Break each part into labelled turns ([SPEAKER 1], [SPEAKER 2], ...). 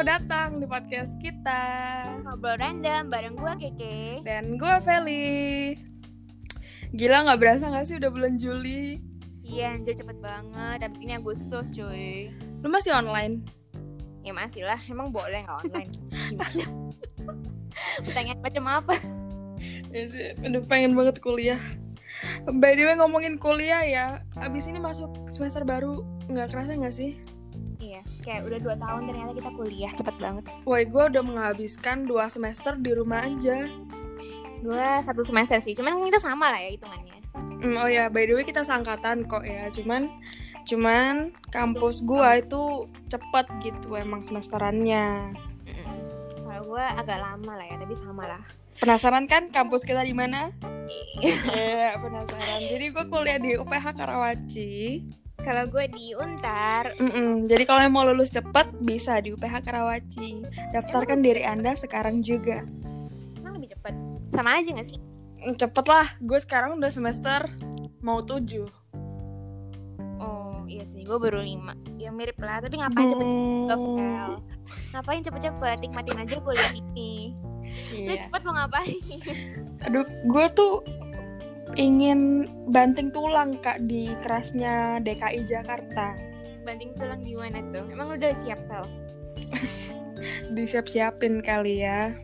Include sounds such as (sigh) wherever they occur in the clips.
[SPEAKER 1] di podcast kita.
[SPEAKER 2] Ngobrol random bareng gue Keke.
[SPEAKER 1] Dan gue Feli. Gila nggak berasa nggak sih udah bulan Juli?
[SPEAKER 2] Iya anjir cepet banget. Abis ini Agustus cuy.
[SPEAKER 1] Lu masih online?
[SPEAKER 2] Ya masih lah. Emang boleh nggak (laughs) online? Gimana? Pertanyaan macam apa?
[SPEAKER 1] Ya sih, udah pengen banget kuliah. By the way ngomongin kuliah ya, abis ini masuk semester baru, nggak kerasa nggak sih?
[SPEAKER 2] Iya. Kayak udah dua tahun ternyata kita kuliah cepet banget.
[SPEAKER 1] Woi, gue udah menghabiskan dua semester di rumah aja.
[SPEAKER 2] Gue satu semester sih. Cuman kita sama lah ya hitungannya.
[SPEAKER 1] Hmm, oh ya, by the way kita sangkatan kok ya, cuman cuman kampus gua itu cepet gitu emang semesterannya.
[SPEAKER 2] Mm-mm. Kalau gue agak lama lah ya. Tapi sama lah. (laughs)
[SPEAKER 1] Penasaran kan kampus kita di mana? Iya, penasaran. Jadi gue kuliah di UPH Karawaci.
[SPEAKER 2] Kalau gue di Untar.
[SPEAKER 1] Mm-mm, Jadi kalau yang mau lulus cepat bisa di UPH Karawaci. Daftarkan diri Anda sekarang juga.
[SPEAKER 2] Emang lebih cepet. Sama aja gak sih?
[SPEAKER 1] Mm, Cepet lah, gue sekarang udah semester mau tujuh.
[SPEAKER 2] Oh iya sih. Gue baru lima. Ya mirip lah. Tapi ngapain cepet? Gafel. Ngapain cepet-cepet? Nikmatin aja kuliah ini. Lu
[SPEAKER 1] Iya.
[SPEAKER 2] cepet mau ngapain? (laughs)
[SPEAKER 1] Aduh, gue tuh ingin banting tulang kak di kerasnya DKI Jakarta.
[SPEAKER 2] Banting tulang gimana tuh? Emang lu udah siap, Pel?
[SPEAKER 1] Disiap-siapin kali ya.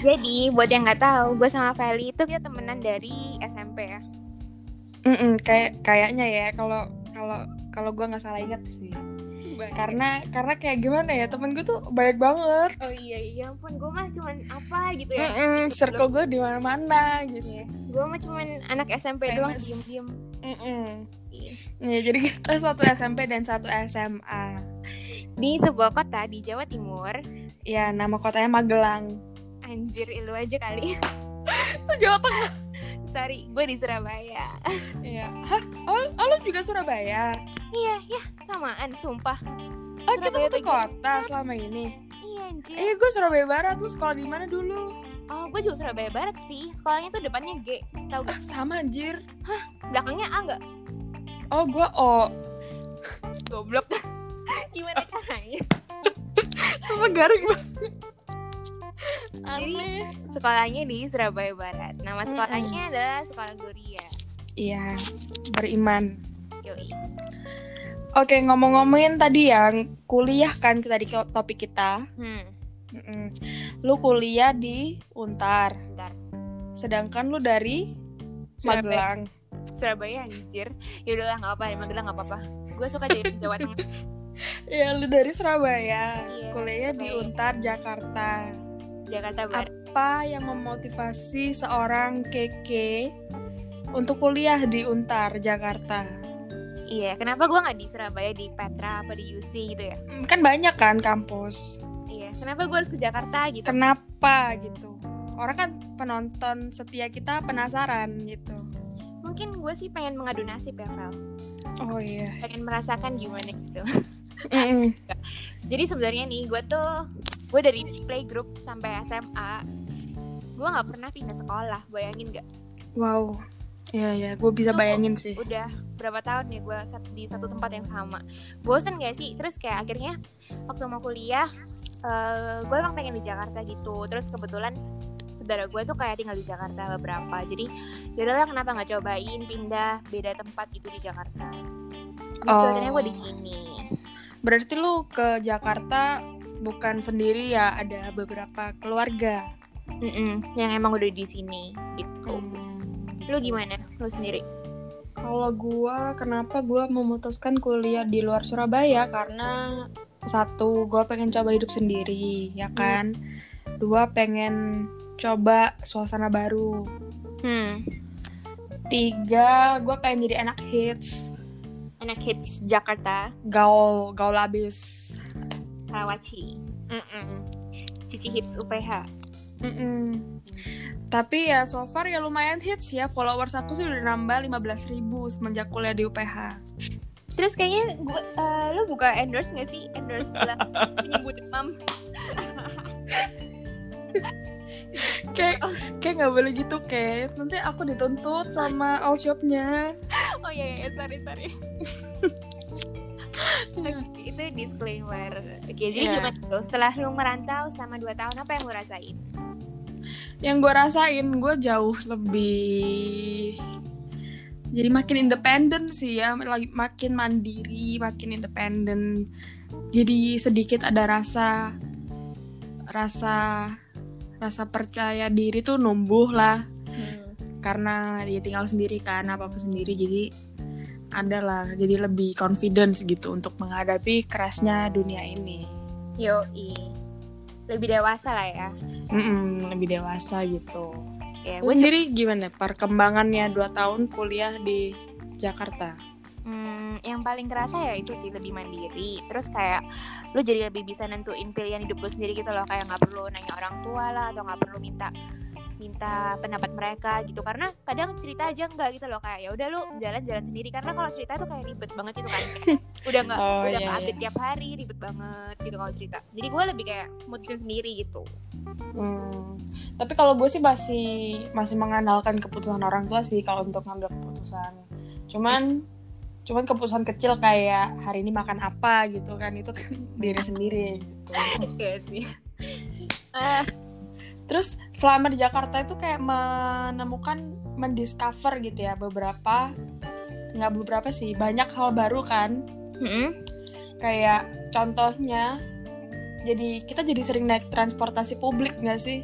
[SPEAKER 2] Jadi buat yang nggak tahu, gue sama Feli itu kita temenan dari SMP ya.
[SPEAKER 1] Mm-mm, kayak kayaknya ya kalau kalau kalau gue nggak salah inget sih. Karena karena kayak gimana ya temen gue tuh banyak banget.
[SPEAKER 2] oh iya iya ampun, gue mah cuman apa gitu Iya. ya.
[SPEAKER 1] Mm-mm, circle gue di mana-mana gitu.
[SPEAKER 2] Gue mah cuman anak SMP doang
[SPEAKER 1] Famous.
[SPEAKER 2] diem-diem.
[SPEAKER 1] Mm-mm.
[SPEAKER 2] Iya.
[SPEAKER 1] Ya, jadi kita satu SMP dan satu SMA.
[SPEAKER 2] Di sebuah kota di Jawa Timur.
[SPEAKER 1] Ya nama kotanya Magelang.
[SPEAKER 2] Anjir, ilu aja kali.
[SPEAKER 1] Itu Jawa Tengah.
[SPEAKER 2] (laughs) Sorry, gue di Surabaya.
[SPEAKER 1] Iya. Hah? Oh, oh, lu juga Surabaya?
[SPEAKER 2] iya, ya samaan, sumpah.
[SPEAKER 1] Oh kita
[SPEAKER 2] Surabaya
[SPEAKER 1] satu
[SPEAKER 2] bagian-
[SPEAKER 1] kota selama ini.
[SPEAKER 2] Iya anjir.
[SPEAKER 1] Eh gue Surabaya Barat. Lu sekolah di mana dulu?
[SPEAKER 2] Oh, gue juga Surabaya Barat sih. Sekolahnya tuh depannya G, tau
[SPEAKER 1] Ah,
[SPEAKER 2] gak?
[SPEAKER 1] sama anjir.
[SPEAKER 2] Belakangnya A nggak?
[SPEAKER 1] Oh gue O.
[SPEAKER 2] Goblok. (laughs) Gimana caranya?
[SPEAKER 1] Cuma garing banget.
[SPEAKER 2] Jadi, sekolahnya di Surabaya Barat. Nama
[SPEAKER 1] Mm-mm.
[SPEAKER 2] sekolahnya adalah Sekolah Gloria.
[SPEAKER 1] Iya, beriman.
[SPEAKER 2] Yoi.
[SPEAKER 1] Oke, ngomong-ngomongin tadi yang kuliah kan kita di topik kita.
[SPEAKER 2] Hmm,
[SPEAKER 1] Mm-mm. Lu kuliah di Untar,
[SPEAKER 2] bentar.
[SPEAKER 1] sedangkan lu dari Magelang.
[SPEAKER 2] Surabaya. Surabaya anjir. Ya udahlah enggak apa-apa, Magelang enggak apa-apa. Gue suka jadi orang Jawa Tengah.
[SPEAKER 1] Iya, lu dari Surabaya.
[SPEAKER 2] Iya,
[SPEAKER 1] Kuliahnya di
[SPEAKER 2] Surabaya.
[SPEAKER 1] Untar, Jakarta.
[SPEAKER 2] Jakarta Barat.
[SPEAKER 1] Apa yang memotivasi seorang keke untuk kuliah di Untar, Jakarta?
[SPEAKER 2] Iya, kenapa gue nggak di Surabaya di Petra apa di UC gitu ya?
[SPEAKER 1] Hmm, Kan banyak kan kampus.
[SPEAKER 2] Iya, kenapa gue harus ke Jakarta gitu?
[SPEAKER 1] Kenapa gitu? Orang kan penonton setia kita penasaran gitu.
[SPEAKER 2] Mungkin gue sih pengen mengadu nasib ya, Val.
[SPEAKER 1] Oh iya.
[SPEAKER 2] Pengen merasakan gimana gitu.
[SPEAKER 1] Mm-mm.
[SPEAKER 2] Jadi sebenarnya nih, gue tuh gue dari playgroup sampai SMA, gue nggak pernah pindah sekolah. Bayangin gak?
[SPEAKER 1] Wow. Iya ya, gue bisa
[SPEAKER 2] Lu-
[SPEAKER 1] bayangin sih.
[SPEAKER 2] udah berapa tahun ya gue di satu tempat yang sama bosen gak sih terus kayak akhirnya waktu mau kuliah gue emang pengen di Jakarta gitu terus kebetulan saudara gue tuh kayak tinggal di Jakarta beberapa jadi yaudahlah kenapa nggak cobain pindah beda tempat gitu di Jakarta gitu,
[SPEAKER 1] Oh.
[SPEAKER 2] akhirnya gue di sini
[SPEAKER 1] Berarti lu ke Jakarta bukan sendiri ya, ada beberapa keluarga.
[SPEAKER 2] Mm-mm, yang emang udah di sini gitu lu gimana lu sendiri
[SPEAKER 1] Hmm. Kalau gua kenapa gua memutuskan kuliah di luar Surabaya karena satu gua pengen coba hidup sendiri, ya kan? Dua pengen coba suasana baru.
[SPEAKER 2] hmm
[SPEAKER 1] Tiga, gua pengen jadi anak hits,
[SPEAKER 2] anak kids Jakarta
[SPEAKER 1] gaul, gaul abis.
[SPEAKER 2] Karawaci Cici Hits UPH
[SPEAKER 1] Mm-mm. Tapi ya so far ya lumayan hits ya Followers aku sih udah nambah 15.000 ribu Semenjak kuliah di UPH
[SPEAKER 2] Terus kayaknya gua, eh, lo buka endorse gak sih? Endorse
[SPEAKER 1] (laughs)
[SPEAKER 2] bilang ibu demam
[SPEAKER 1] Kayak kayak gak boleh gitu kayak Nanti aku dituntut sama all shopnya
[SPEAKER 2] oh iya iya sorry
[SPEAKER 1] (laughs)
[SPEAKER 2] sorry Oke, itu disclaimer oke jadi
[SPEAKER 1] Iya.
[SPEAKER 2] gimana tuh setelah lu merantau selama 2 tahun apa yang lu rasain
[SPEAKER 1] yang gue rasain gue jauh lebih jadi makin independen sih ya lagi makin mandiri makin independen jadi sedikit ada rasa rasa rasa percaya diri tuh numbuh lah Hmm. karena dia tinggal sendiri kan apa apa sendiri jadi adalah jadi lebih confidence gitu untuk menghadapi kerasnya dunia ini
[SPEAKER 2] yoi lebih dewasa lah ya
[SPEAKER 1] Mm-mm, lebih dewasa gitu
[SPEAKER 2] Oke,
[SPEAKER 1] Lu
[SPEAKER 2] gua
[SPEAKER 1] sendiri gimana perkembangannya 2 tahun kuliah di Jakarta?
[SPEAKER 2] Hmm, yang paling kerasa ya itu sih lebih mandiri. Terus kayak lu jadi lebih bisa nentuin pilihan hidup lu sendiri gitu loh. Kayak nggak perlu nanya orang tua lah atau nggak perlu minta minta pendapat mereka gitu karena kadang cerita aja nggak gitu loh kayak ya udah lu jalan-jalan sendiri karena kalau cerita tuh kayak ribet banget gitu kan
[SPEAKER 1] (laughs)
[SPEAKER 2] udah nggak
[SPEAKER 1] Oh,
[SPEAKER 2] udah
[SPEAKER 1] iya,
[SPEAKER 2] nggak
[SPEAKER 1] iya.
[SPEAKER 2] update tiap hari ribet banget gitu kalau cerita jadi gue lebih kayak mutusin sendiri gitu
[SPEAKER 1] Hmm. Tapi kalau gue sih masih masih mengandalkan keputusan orang tua sih kalau untuk ngambil keputusan. Cuman cuman keputusan kecil kayak hari ini makan apa gitu kan itu kan (laughs) diri sendiri. gitu.
[SPEAKER 2] Iya sih Eh,
[SPEAKER 1] Terus selama di Jakarta itu kayak menemukan mendiscover gitu ya beberapa nggak beberapa sih banyak hal baru kan kayak contohnya jadi kita jadi sering naik transportasi publik nggak sih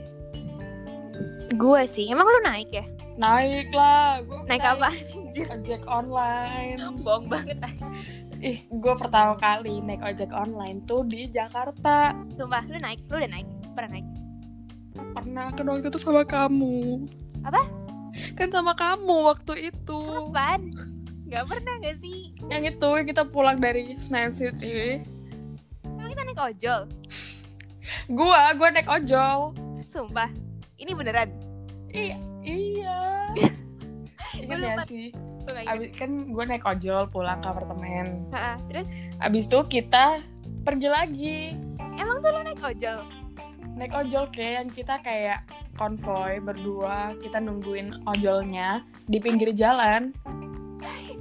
[SPEAKER 2] gue sih emang lu naik ya
[SPEAKER 1] naik lah gua
[SPEAKER 2] naik apa (laughs) Anjir,
[SPEAKER 1] ojek online
[SPEAKER 2] bohong banget
[SPEAKER 1] ih gue pertama kali naik ojek online tuh di Jakarta
[SPEAKER 2] Sumpah, lu naik, lu udah naik, pernah naik.
[SPEAKER 1] pernah kan waktu itu sama kamu
[SPEAKER 2] Apa?
[SPEAKER 1] kan sama kamu waktu itu
[SPEAKER 2] Kapan? Gak pernah gak sih?
[SPEAKER 1] yang itu yang kita pulang dari Senayan City
[SPEAKER 2] Emang kita naik ojol?
[SPEAKER 1] gua gua naik ojol
[SPEAKER 2] Sumpah, ini beneran.
[SPEAKER 1] I-
[SPEAKER 2] (laughs)
[SPEAKER 1] iya Ingat
[SPEAKER 2] Gua
[SPEAKER 1] ya
[SPEAKER 2] lupa.
[SPEAKER 1] sih
[SPEAKER 2] Lu gak ingat?
[SPEAKER 1] Abis, kan gue naik ojol pulang ke apartemen
[SPEAKER 2] Ha-ha. Terus,
[SPEAKER 1] Abis itu kita pergi lagi
[SPEAKER 2] emang tuh lu naik ojol?
[SPEAKER 1] naik ojol kayak yang kita kayak konvoy berdua kita nungguin ojolnya di pinggir jalan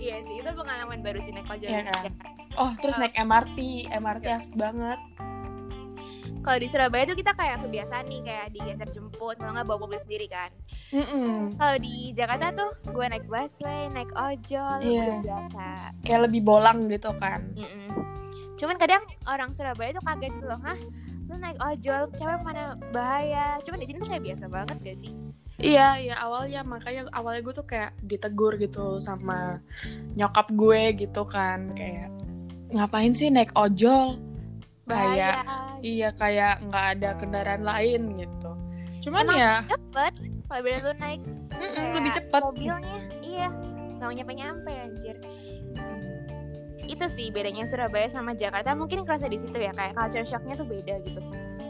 [SPEAKER 2] Iya sih, itu pengalaman baru sih naik ojol.
[SPEAKER 1] Iya kan? oh terus
[SPEAKER 2] Iya.
[SPEAKER 1] naik MRT MRT asik banget
[SPEAKER 2] Kalau di Surabaya tuh kita kayak kebiasaan nih, kayak diantar jemput, kalau nggak bawa mobil sendiri kan.
[SPEAKER 1] Mm-mm.
[SPEAKER 2] Kalau di Jakarta tuh, gue naik busway, naik ojol,
[SPEAKER 1] Iya.
[SPEAKER 2] udah biasa.
[SPEAKER 1] kayak lebih bolang gitu kan
[SPEAKER 2] Mm-mm. Cuman kadang orang Surabaya tuh kaget gitu loh, hah? Lu naik ojol, cewek mana bahaya. Cuman di sini tuh kayak biasa banget gak sih?
[SPEAKER 1] iya iya awalnya makanya awalnya gue tuh kayak ditegur gitu sama nyokap gue gitu kan kayak ngapain sih naik ojol
[SPEAKER 2] Bahaya.
[SPEAKER 1] Kayak- iya kayak nggak ada kendaraan lain gitu cuman
[SPEAKER 2] Emang-
[SPEAKER 1] ya
[SPEAKER 2] cepet kalau beda lu naik
[SPEAKER 1] mm-mm,
[SPEAKER 2] kayak
[SPEAKER 1] lebih cepet
[SPEAKER 2] mobilnya iya nggak mau nyampe nyampe anjir itu sih bedanya Surabaya sama Jakarta mungkin kerasa di situ ya kayak culture shocknya tuh beda gitu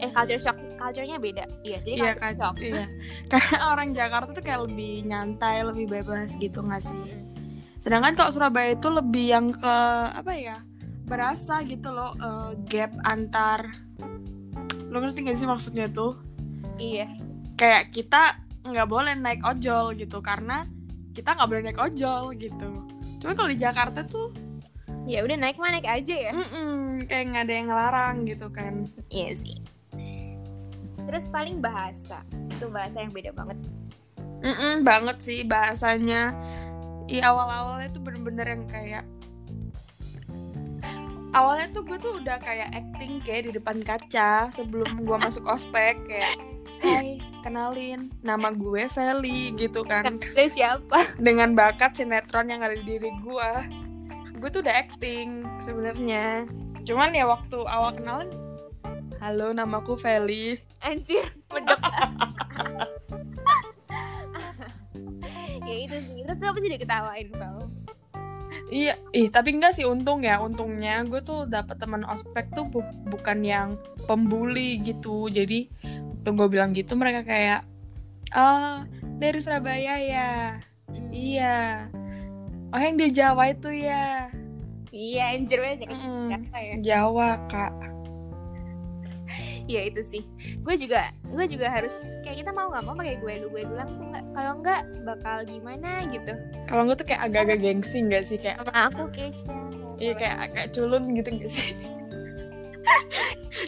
[SPEAKER 2] eh culture shock culturenya beda iya jadi
[SPEAKER 1] Iya
[SPEAKER 2] culture
[SPEAKER 1] kan,
[SPEAKER 2] shock
[SPEAKER 1] iya. (laughs) Karena orang Jakarta tuh kayak lebih nyantai, lebih bebas gitu nggak sih? Sedangkan kalau Surabaya itu lebih yang ke apa ya? Berasa gitu loh eh, gap antar. Lo ngerti gak sih maksudnya tuh?
[SPEAKER 2] iya
[SPEAKER 1] Kayak kita nggak boleh naik ojol gitu karena kita nggak boleh naik ojol gitu. Cuma kalau di Jakarta tuh,
[SPEAKER 2] ya udah naik mah naik aja ya
[SPEAKER 1] mm-mm, kayak nggak ada yang ngelarang gitu kan.
[SPEAKER 2] iya sih terus paling bahasa itu bahasa yang beda banget
[SPEAKER 1] Mm-mm, banget sih bahasanya. I awal-awalnya tuh bener-bener yang kayak awalnya tuh gue tuh udah kayak acting kayak di depan kaca sebelum gue masuk ospek kayak Hai, kenalin nama gue Feli gitu kan
[SPEAKER 2] Lu siapa
[SPEAKER 1] dengan bakat sinetron yang ada di diri gue gue tuh udah acting sebenarnya cuman ya waktu awal kenalan halo namaku Feli
[SPEAKER 2] anjir medok (laughs) ya itu sih terus lu apa sih diketawain bang
[SPEAKER 1] Iya, ih tapi enggak sih untung ya, untungnya gue tuh dapet teman ospek tuh bu- bukan yang pembuli gitu. Jadi waktu gue bilang gitu mereka kayak ah dari Surabaya ya. Iya. Oh yang di Jawa itu ya.
[SPEAKER 2] Iya, anjir banyak
[SPEAKER 1] Mm-mm.
[SPEAKER 2] Jakarta ya.
[SPEAKER 1] Jawa, Kak.
[SPEAKER 2] ya itu sih gue juga gue juga harus kayak kita mau nggak mau pakai gue lu gue dulu langsung nggak kalau nggak bakal gimana gitu
[SPEAKER 1] Kalau gue tuh kayak agak-agak gengsi nggak sih kayak
[SPEAKER 2] sama aku Keisha
[SPEAKER 1] Iya kayak kayak culun gitu nggak
[SPEAKER 2] (laughs)
[SPEAKER 1] sih?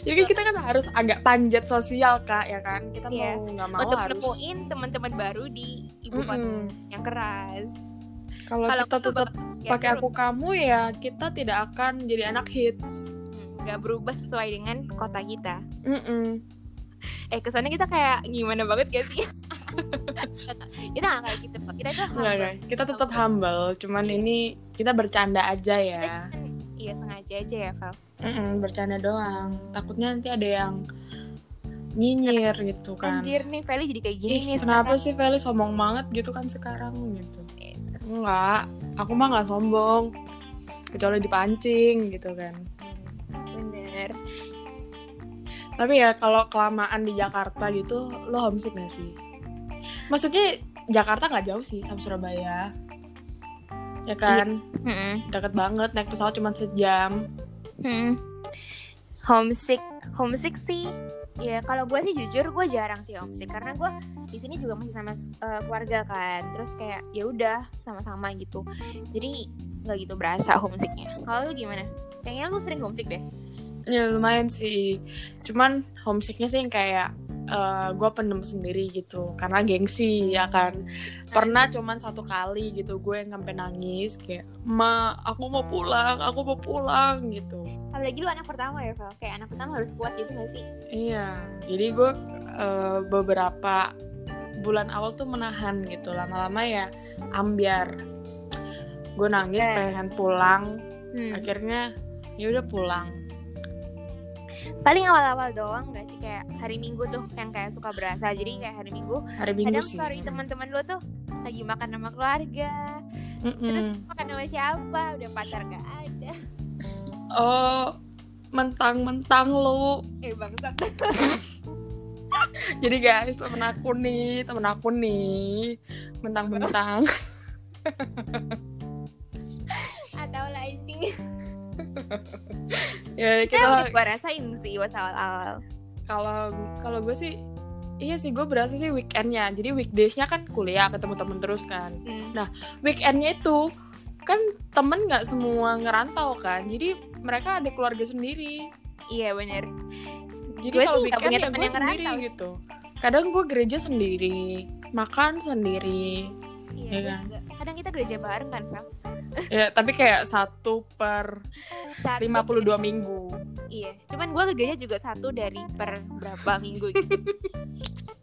[SPEAKER 1] Jadi kita kan harus agak panjat sosial kak ya kan kita
[SPEAKER 2] Iya.
[SPEAKER 1] mau nggak mau
[SPEAKER 2] untuk
[SPEAKER 1] harus.
[SPEAKER 2] nemuin teman-teman baru di ibu
[SPEAKER 1] Mm-mm.
[SPEAKER 2] kota yang keras
[SPEAKER 1] Kalau
[SPEAKER 2] Kalau
[SPEAKER 1] kita
[SPEAKER 2] aku tuh
[SPEAKER 1] tetap
[SPEAKER 2] ya,
[SPEAKER 1] pakai
[SPEAKER 2] terus.
[SPEAKER 1] aku kamu ya kita tidak akan jadi anak hits.
[SPEAKER 2] Hmm, nggak berubah sesuai dengan kota kita
[SPEAKER 1] Mm-mm.
[SPEAKER 2] eh kesannya kita kayak gimana banget gak
[SPEAKER 1] (laughs)
[SPEAKER 2] sih kita nggak kayak gitu kok. kita
[SPEAKER 1] Nggak,
[SPEAKER 2] tuh humble.
[SPEAKER 1] nggak. Iya, Kita tetap humble, cuman ini kita bercanda aja ya.
[SPEAKER 2] iya sengaja aja ya Val
[SPEAKER 1] Mm-mm, bercanda doang. Takutnya nanti ada yang nyinyir gitu kan.
[SPEAKER 2] anjir nih Feli jadi kayak gini
[SPEAKER 1] Ih,
[SPEAKER 2] nih
[SPEAKER 1] kenapa sih Feli sombong banget gitu kan sekarang gitu? Enggak, aku mah nggak sombong. Kecuali dipancing gitu kan.
[SPEAKER 2] bener
[SPEAKER 1] Tapi ya kalau kelamaan di Jakarta gitu, lo homesick gak sih? Maksudnya Jakarta nggak jauh sih sama Surabaya. Ya kan?
[SPEAKER 2] Mm-mm.
[SPEAKER 1] Deket banget, naik pesawat cuma sejam.
[SPEAKER 2] Hmm. Homesick, homesick sih. Ya kalau gue sih jujur gue jarang sih homesick karena gue di sini juga masih sama eh, keluarga kan. Terus kayak ya udah sama-sama gitu. Jadi nggak gitu berasa homesicknya. Kalau lu gimana? Kayaknya lu sering homesick deh.
[SPEAKER 1] Ya lumayan sih. Cuman homesicknya sih yang kayak gue pendem sendiri gitu. Karena gengsi ya kan. Pernah cuman satu kali gitu gue yang sampai nangis kayak ma aku mau pulang, aku mau pulang gitu.
[SPEAKER 2] Apalagi lu anak pertama ya, Val. Kayak anak pertama harus kuat gitu gak sih?
[SPEAKER 1] Iya. Jadi gue eh, beberapa bulan awal tuh menahan gitu. Lama-lama ya ambiar. Gue nangis
[SPEAKER 2] Oke.
[SPEAKER 1] pengen pulang.
[SPEAKER 2] Hmm.
[SPEAKER 1] Akhirnya ya udah pulang.
[SPEAKER 2] Paling awal-awal doang gak sih kayak hari Minggu tuh yang kayak suka berasa. Jadi kayak hari Minggu
[SPEAKER 1] Hari Minggu
[SPEAKER 2] kadang
[SPEAKER 1] sih.
[SPEAKER 2] story teman-teman lu tuh lagi makan sama keluarga, Terus
[SPEAKER 1] Mm-mm.
[SPEAKER 2] makan sama siapa? Udah pacar gak ada.
[SPEAKER 1] Oh, mentang-mentang lo.
[SPEAKER 2] (laughs) Eh bangsa.
[SPEAKER 1] Jadi guys, temen aku nih, temen aku nih,
[SPEAKER 2] (laughs)
[SPEAKER 1] mentang-mentang.
[SPEAKER 2] Atau lah anjing.
[SPEAKER 1] ya
[SPEAKER 2] Kita
[SPEAKER 1] kita
[SPEAKER 2] gue Kan rasain sih pas awal-awal.
[SPEAKER 1] kalau kalau gue sih, iya sih gue berasa sih weekendnya. Jadi weekdaysnya kan kuliah ketemu temen terus kan.
[SPEAKER 2] Hmm.
[SPEAKER 1] Weekendnya itu kan temen nggak semua ngerantau kan. Jadi mereka ada keluarga sendiri.
[SPEAKER 2] Iya bener.
[SPEAKER 1] Jadi
[SPEAKER 2] Gue
[SPEAKER 1] kalau
[SPEAKER 2] sih nggak
[SPEAKER 1] weekend
[SPEAKER 2] punya
[SPEAKER 1] ya
[SPEAKER 2] temen
[SPEAKER 1] gue
[SPEAKER 2] yang
[SPEAKER 1] sendiri
[SPEAKER 2] ngerantau.
[SPEAKER 1] gitu. Kadang gue gereja sendiri, makan
[SPEAKER 2] (laughs)
[SPEAKER 1] sendiri. Iya
[SPEAKER 2] Iya. gue
[SPEAKER 1] kan?
[SPEAKER 2] juga. Kadang kita gereja bareng kan, Fel?
[SPEAKER 1] ya tapi kayak satu per
[SPEAKER 2] Satu-
[SPEAKER 1] 52 minggu.
[SPEAKER 2] Iya. Cuman gue ke gereja juga satu dari per berapa minggu (laughs) gitu.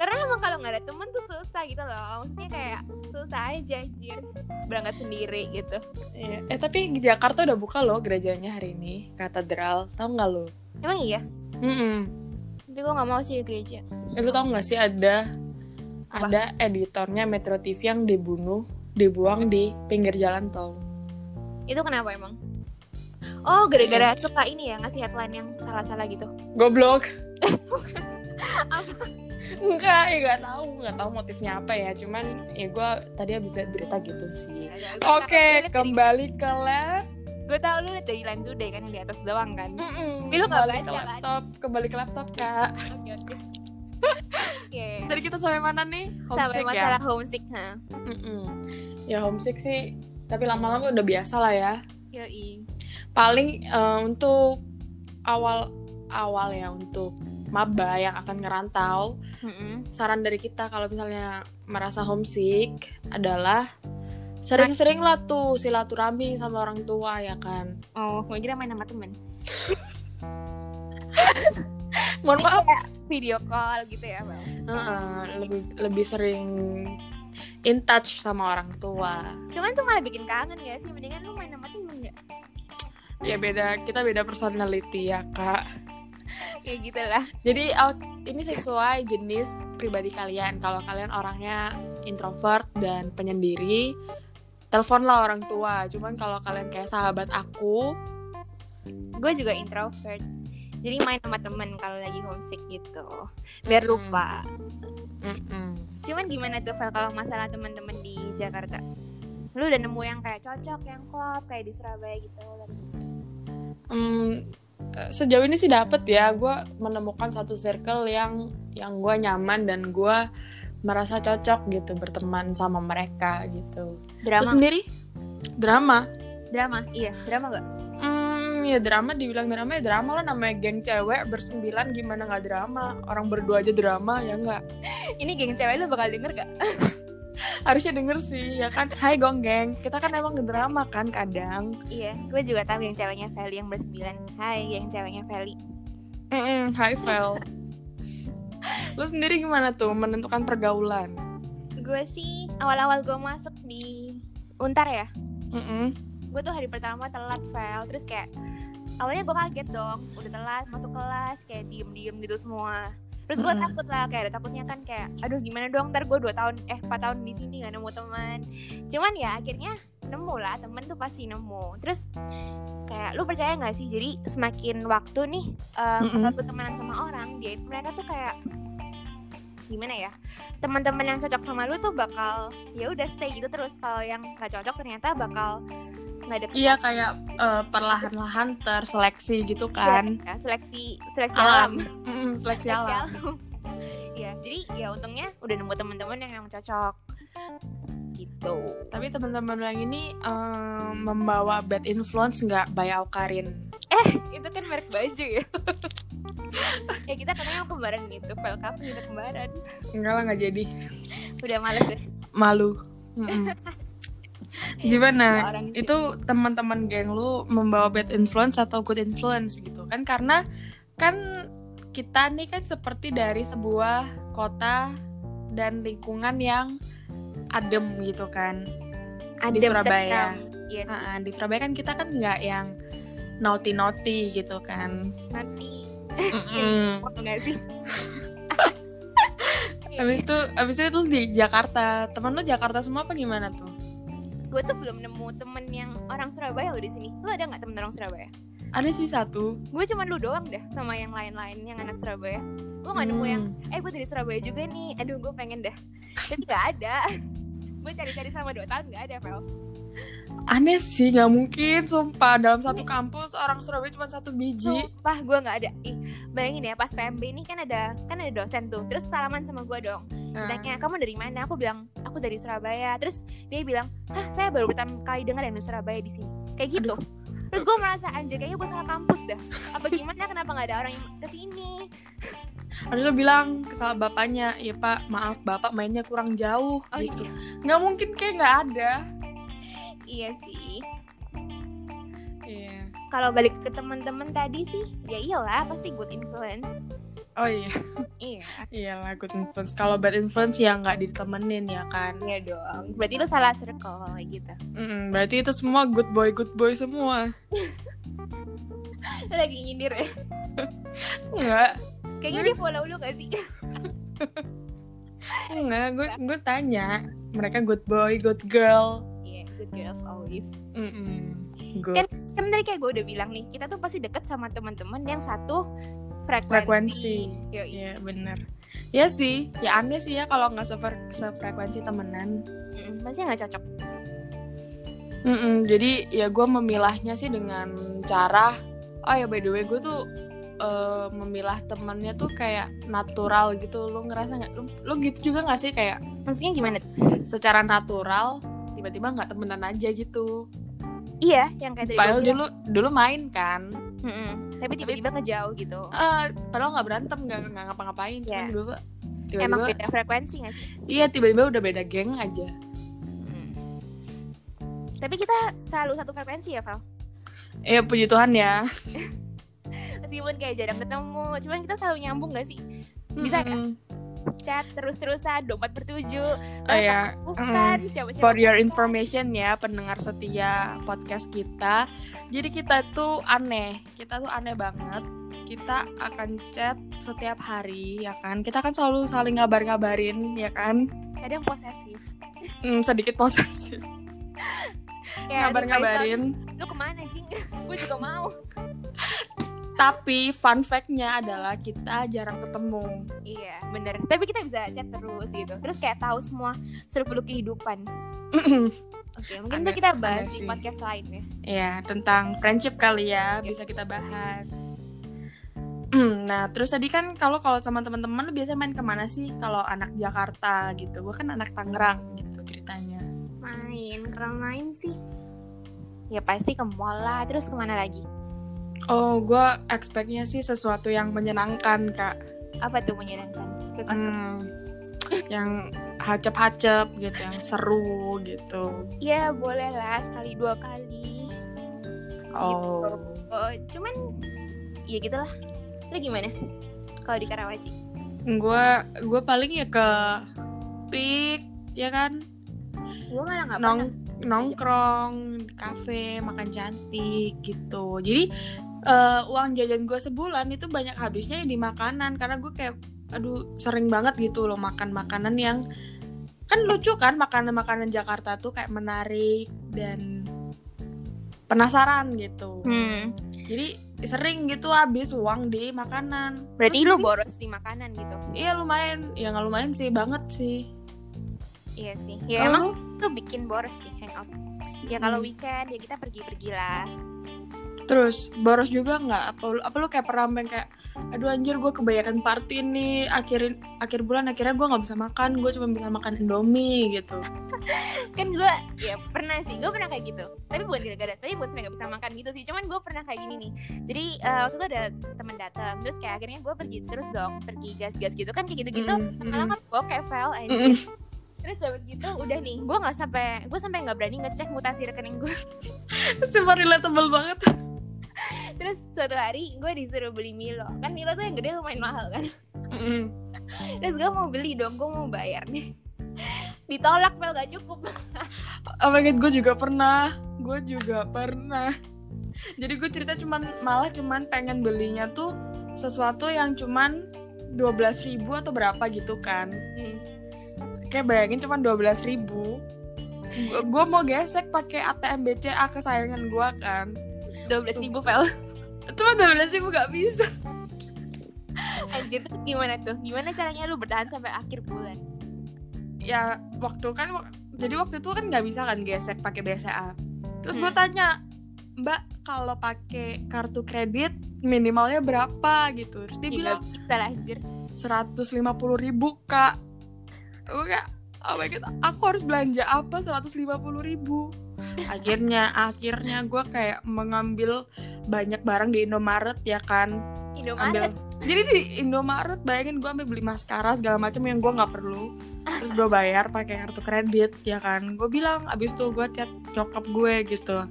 [SPEAKER 2] Karena emang kalau nggak ada temen tuh susah gitu loh. Maksudnya kayak susah aja anjir. Berangkat sendiri gitu.
[SPEAKER 1] Iya. Eh tapi di Jakarta udah buka loh gerejanya hari ini katedral tau nggak lo?
[SPEAKER 2] Emang iya?
[SPEAKER 1] Mm
[SPEAKER 2] Tapi gue nggak mau sih ke gereja.
[SPEAKER 1] Eh, lu tau nggak sih ada
[SPEAKER 2] Apa?
[SPEAKER 1] ada editornya Metro TV yang dibunuh dibuang di pinggir jalan tol.
[SPEAKER 2] Itu kenapa emang? Oh, gara-gara suka ini ya ngasih headline yang salah-salah gitu.
[SPEAKER 1] Goblok. (laughs) Enggak, ya nggak tahu, nggak tahu motifnya apa ya. Cuman ya gue tadi habis lihat berita gitu sih. Oke, kembali ke lab.
[SPEAKER 2] Gue tau lu liat dari Line Today kan yang di atas doang kan.
[SPEAKER 1] Mm-mm,
[SPEAKER 2] Tapi lu nggak
[SPEAKER 1] kembali ke
[SPEAKER 2] baca, kan?
[SPEAKER 1] laptop, kembali ke laptop kak.
[SPEAKER 2] (laughs) Oke oke. Iya. iya.
[SPEAKER 1] Tadi kita sampai mana nih? ya?
[SPEAKER 2] Sampai masalah homesick ya? ha.
[SPEAKER 1] Mm-mm. Ya homesick sih, tapi lama-lama udah biasa lah ya.
[SPEAKER 2] Yoi.
[SPEAKER 1] Paling eh, untuk awal-awal ya untuk maba yang akan ngerantau,
[SPEAKER 2] Mm-mm.
[SPEAKER 1] saran dari kita kalau misalnya merasa homesick adalah sering-sering lah tuh silaturahmi sama orang tua ya kan.
[SPEAKER 2] Oh, gue kira main sama temen. (laughs)
[SPEAKER 1] Mohon maaf.
[SPEAKER 2] Video call gitu ya, Bang.
[SPEAKER 1] Heeh, lebih lebih sering in touch sama orang tua.
[SPEAKER 2] Cuman tuh malah bikin kangen gak sih? Mendingan lu main sama temen gak? (laughs)
[SPEAKER 1] Ya beda kita beda personality ya kak.
[SPEAKER 2] Ya gitu lah.
[SPEAKER 1] Jadi out- ini sesuai jenis pribadi kalian. Kalau kalian orangnya introvert dan penyendiri, teleponlah orang tua. Cuman kalau kalian kayak sahabat aku,
[SPEAKER 2] Gue juga introvert. Jadi main sama temen kalau lagi homesick gitu. Biar
[SPEAKER 1] Mm-mm.
[SPEAKER 2] lupa.
[SPEAKER 1] mm-mm.
[SPEAKER 2] Cuman gimana tuh Val kalau masalah teman-teman di Jakarta? Lu udah nemu yang kayak cocok, yang klop, kayak di Surabaya gitu?
[SPEAKER 1] Hmm, eh, sejauh ini sih dapet ya gue menemukan satu circle yang yang gue nyaman dan gue merasa cocok gitu berteman sama mereka gitu Lu
[SPEAKER 2] drama
[SPEAKER 1] sendiri drama
[SPEAKER 2] drama iya drama gak
[SPEAKER 1] hmm ya drama dibilang drama ya drama lah namanya geng cewek bersembilan gimana nggak drama orang berdua aja drama ya nggak
[SPEAKER 2] ini geng cewek lu bakal denger gak
[SPEAKER 1] harusnya denger sih ya kan Hai gong geng kita kan emang drama kan kadang
[SPEAKER 2] iya gue juga tahu geng ceweknya Feli yang bersembilan hai geng ceweknya Feli
[SPEAKER 1] Mm-mm, Hai Vel (laughs) Lu sendiri gimana tuh menentukan pergaulan?
[SPEAKER 2] gue sih awal-awal gue masuk di untar ya
[SPEAKER 1] Mm-mm.
[SPEAKER 2] gue tuh hari pertama telat fail terus kayak awalnya gue kaget dong udah telat masuk kelas kayak diem diem gitu semua terus gue
[SPEAKER 1] Mm-mm.
[SPEAKER 2] takut lah kayak ada takutnya kan kayak aduh gimana dong ntar gue 2 tahun eh 4 tahun di sini gak nemu teman cuman ya akhirnya nemu lah temen tuh pasti nemu terus kayak lu percaya nggak sih jadi semakin waktu nih eh
[SPEAKER 1] Mm-mm.
[SPEAKER 2] kalau lu temenan sama orang dia mereka tuh kayak gimana ya teman-teman yang cocok sama lu tuh bakal ya udah stay gitu terus kalau yang gak cocok ternyata bakal nggak deket
[SPEAKER 1] Iya kayak eh, perlahan-lahan terseleksi gitu kan
[SPEAKER 2] Ya, seleksi seleksi alam.
[SPEAKER 1] Alam Mm-mm, Seleksi
[SPEAKER 2] Seleksi
[SPEAKER 1] alam
[SPEAKER 2] alam. (laughs) Iya, jadi ya untungnya udah nemu teman-teman yang emang cocok. Gitu.
[SPEAKER 1] Tapi teman-teman lu yang ini eh, membawa bad influence nggak by Alkarin?
[SPEAKER 2] Itu kan merek baju ya. (laughs) ya kita katanya kembaran gitu, file cup kita kembaran.
[SPEAKER 1] Enggak lah nggak jadi
[SPEAKER 2] Udah males deh.
[SPEAKER 1] Malu Mm-mm. (laughs) Gimana?
[SPEAKER 2] Seorang
[SPEAKER 1] itu teman-teman geng lu membawa bad influence atau good influence gitu kan karena kan kita nih kan seperti dari sebuah kota dan lingkungan yang adem gitu kan
[SPEAKER 2] Adem
[SPEAKER 1] Surabaya.
[SPEAKER 2] tenang. Iya, sih.
[SPEAKER 1] Ah, ah, di Surabaya kan kita kan nggak yang naughty naughty gitu kan
[SPEAKER 2] nanti
[SPEAKER 1] Mm-mm.
[SPEAKER 2] mau nggak sih?
[SPEAKER 1] (laughs) Habis itu habis itu lu di Jakarta teman lu Jakarta semua apa gimana tuh
[SPEAKER 2] Gue tuh belum nemu temen yang orang Surabaya loh di sini. Lu ada nggak temen orang Surabaya?
[SPEAKER 1] ada sih satu
[SPEAKER 2] Gue cuma lu doang dah sama yang lain-lain yang anak Surabaya. Gue nggak nemu yang
[SPEAKER 1] Hmm.
[SPEAKER 2] eh gue dari Surabaya juga nih aduh gue pengen dah tapi nggak ada (laughs) gue cari-cari sama dua tahun nggak ada Vel
[SPEAKER 1] aneh sih nggak mungkin sumpah dalam satu
[SPEAKER 2] Iya.
[SPEAKER 1] kampus orang Surabaya cuma satu biji
[SPEAKER 2] sumpah gue nggak ada ih bayangin ya pas PMB ini kan ada kan ada dosen tuh terus salaman sama gue dong
[SPEAKER 1] Ah.
[SPEAKER 2] tanya kamu dari mana aku bilang aku dari Surabaya terus dia bilang hah saya baru pertama kali dengar yang di Surabaya di sini kayak gitu terus gue merasa anjir kayaknya gue salah kampus dah apa gimana kenapa nggak ada orang yang kesini
[SPEAKER 1] Ada lo bilang kesal bapaknya, ya pak maaf bapak mainnya kurang jauh
[SPEAKER 2] oh
[SPEAKER 1] gitu.
[SPEAKER 2] iya
[SPEAKER 1] Nggak mungkin kayak nggak ada.
[SPEAKER 2] iya sih
[SPEAKER 1] Iya.
[SPEAKER 2] kalau balik ke teman-teman tadi sih ya iyalah pasti good influence
[SPEAKER 1] Oh iya,
[SPEAKER 2] iya
[SPEAKER 1] iyalah good influence. Kalau bad influence ya nggak ditemenin ya kan.
[SPEAKER 2] Iya dong. Berarti lu salah circle kayak gitu.
[SPEAKER 1] Mm, berarti itu semua good boy good boy semua.
[SPEAKER 2] Lu (laughs) lagi nyindir ya.
[SPEAKER 1] Enggak,
[SPEAKER 2] Kayaknya dia follow lu gak sih? (laughs)
[SPEAKER 1] enggak. Gue gue tanya mereka good boy good girl.
[SPEAKER 2] Iya, good girls always.
[SPEAKER 1] Mm-mm. Good
[SPEAKER 2] Kan tadi kayak gue udah bilang nih, kita tuh pasti deket sama teman-teman yang satu frekuensi.
[SPEAKER 1] frekuensi.
[SPEAKER 2] Yoi.
[SPEAKER 1] Iya bener. Ya sih, ya aneh sih ya kalau nggak sefer- sefrekuensi temenan.
[SPEAKER 2] Mm, Masih nggak cocok.
[SPEAKER 1] Mm-mm, jadi ya gue memilahnya sih dengan cara oh ya by the way gue tuh eh, memilah temannya tuh kayak natural gitu lo ngerasa nggak lo, lo gitu juga nggak sih kayak
[SPEAKER 2] Maksudnya gimana?
[SPEAKER 1] secara natural tiba-tiba nggak temenan aja gitu
[SPEAKER 2] Iya, yang kayak tadi gua
[SPEAKER 1] padahal
[SPEAKER 2] bilang.
[SPEAKER 1] dulu dulu main kan
[SPEAKER 2] Mm-mm. Tapi tiba-tiba ngejauh gitu.
[SPEAKER 1] Eh, padahal nggak berantem nggak nggak ngapa-ngapain cuman
[SPEAKER 2] Iya.
[SPEAKER 1] tiba-tiba
[SPEAKER 2] Emang
[SPEAKER 1] tiba-tiba
[SPEAKER 2] beda frekuensi gak sih?
[SPEAKER 1] iya tiba-tiba udah beda geng aja
[SPEAKER 2] Mm. Tapi kita selalu satu frekuensi ya, Val?
[SPEAKER 1] ya puji Tuhan ya
[SPEAKER 2] Meskipun kayak jarang
[SPEAKER 1] Hmm.
[SPEAKER 2] ketemu, cuman kita selalu nyambung gak sih? Bisa nggak?
[SPEAKER 1] Mm-mm.
[SPEAKER 2] Chat terus-terusan, 24 per 7
[SPEAKER 1] oh ya
[SPEAKER 2] Bukan,
[SPEAKER 1] Mm.
[SPEAKER 2] siapa-siapa
[SPEAKER 1] For your
[SPEAKER 2] bukan.
[SPEAKER 1] information ya pendengar setia podcast kita. Jadi kita tuh aneh, kita tuh aneh banget. Kita akan chat setiap hari ya kan. Kita kan selalu saling ngabar-ngabarin ya kan.
[SPEAKER 2] Kadang posesif
[SPEAKER 1] Hmm, sedikit posesif.
[SPEAKER 2] Kayak,
[SPEAKER 1] Ngabar-ngabarin.
[SPEAKER 2] lu kemana jing (laughs) gue juga mau
[SPEAKER 1] Tapi fun fact-nya adalah kita jarang ketemu. (clears throat)
[SPEAKER 2] iya bener tapi kita bisa chat terus gitu terus kayak tahu semua seluk-beluk kehidupan oke
[SPEAKER 1] Ada-
[SPEAKER 2] mungkin itu kita bahas
[SPEAKER 1] ada
[SPEAKER 2] di
[SPEAKER 1] sih.
[SPEAKER 2] podcast lain ya
[SPEAKER 1] ya, tentang friendship kali ya bisa kita bahas. nah terus tadi kan kalau kalau sama teman-teman lu biasa main kemana sih kalau anak Jakarta gitu gue kan anak Tangerang gitu ceritanya
[SPEAKER 2] Main, kurang main sih. Ya pasti ke mall lah, terus kemana lagi?
[SPEAKER 1] oh gue expectnya sih sesuatu yang menyenangkan kak
[SPEAKER 2] Apa tuh menyenangkan? Ke kos-
[SPEAKER 1] Hmm, yang hacep-hacep gitu yang seru gitu
[SPEAKER 2] Ya boleh lah, sekali dua kali.
[SPEAKER 1] oh
[SPEAKER 2] Gitu. Oh, cuman, ya gitulah. Lu gimana? Kalau di Karawaci?
[SPEAKER 1] gue gue paling ya ke pik ya kan
[SPEAKER 2] Gue malah nggak pernah.
[SPEAKER 1] nong nongkrong di kafe makan cantik gitu jadi eh, uang jajan gue sebulan itu banyak habisnya di makanan karena gue kayak aduh sering banget gitu loh makan makanan yang kan lucu kan makanan makanan Jakarta tuh kayak menarik dan penasaran gitu
[SPEAKER 2] Hmm,
[SPEAKER 1] jadi sering gitu habis uang di makanan
[SPEAKER 2] berarti
[SPEAKER 1] Terus
[SPEAKER 2] lu
[SPEAKER 1] tadi-
[SPEAKER 2] boros di makanan gitu.
[SPEAKER 1] iya lumayan ya nggak lumayan sih banget sih
[SPEAKER 2] Iya sih. Ya
[SPEAKER 1] Kalau
[SPEAKER 2] emang
[SPEAKER 1] lu?
[SPEAKER 2] tuh bikin boros sih hangout. Ya kalau
[SPEAKER 1] Hmm.
[SPEAKER 2] weekend ya kita pergi-pergi lah.
[SPEAKER 1] Terus boros juga nggak? Apa, lu- apa lu kayak pernah main kayak, aduh anjir gue kebanyakan party nih akhirin akhir bulan akhirnya gue nggak bisa makan, gue cuma bisa makan indomie gitu.
[SPEAKER 2] kan gue ya pernah sih gue pernah kayak gitu tapi bukan gara-gara tapi buat sampai gak bisa makan gitu sih cuman gue pernah kayak gini nih jadi eh, waktu itu ada teman datang terus kayak akhirnya gue pergi terus dong pergi gas-gas gitu kan kayak gitu-gitu
[SPEAKER 1] Mm, mm, (laughs)
[SPEAKER 2] malah kan gue kevel
[SPEAKER 1] mm,
[SPEAKER 2] anjir terus habis gitu udah nih gue nggak sampai gue sampai nggak berani ngecek mutasi rekening gue
[SPEAKER 1] mm. Super relatable banget.
[SPEAKER 2] (laughs) terus suatu hari gue disuruh beli Milo kan Milo tuh yang gede lumayan mahal kan (laughs)
[SPEAKER 1] Mm.
[SPEAKER 2] terus gue mau beli dong gue mau bayar nih (laughs) ditolak Vel gak cukup
[SPEAKER 1] Oh my god, gue juga pernah, gue juga pernah. Jadi gue cerita cuman malah cuman pengen belinya tuh sesuatu yang cuman 12.000 ribu atau berapa gitu kan.
[SPEAKER 2] Hmm.
[SPEAKER 1] kayak bayangin cuma 12.000 ribu gue mau gesek pakai ATM BCA kesayangan gue kan
[SPEAKER 2] 12.000 ribu Vel
[SPEAKER 1] cuma 12.000 ribu gak bisa
[SPEAKER 2] (laughs) anjir terus gimana tuh gimana caranya lu bertahan sampai akhir bulan
[SPEAKER 1] ya waktu kan wak- jadi waktu itu kan nggak bisa kan gesek pakai BCA terus gue
[SPEAKER 2] Hmm.
[SPEAKER 1] tanya mbak kalau pakai kartu kredit minimalnya berapa gitu terus dia
[SPEAKER 2] Gila,
[SPEAKER 1] bilang
[SPEAKER 2] kita Ya lah anjir
[SPEAKER 1] 150.000 ribu kak gue kayak oh my god aku harus belanja apa 150.000 ribu akhirnya akhirnya gue kayak mengambil banyak barang di Indomaret ya kan
[SPEAKER 2] Indomaret
[SPEAKER 1] ambil jadi di Indomaret bayangin gue ambil beli maskara segala macam yang gue nggak perlu terus gue bayar pakai kartu kredit ya kan gue bilang abis itu gue chat nyokap gue gitu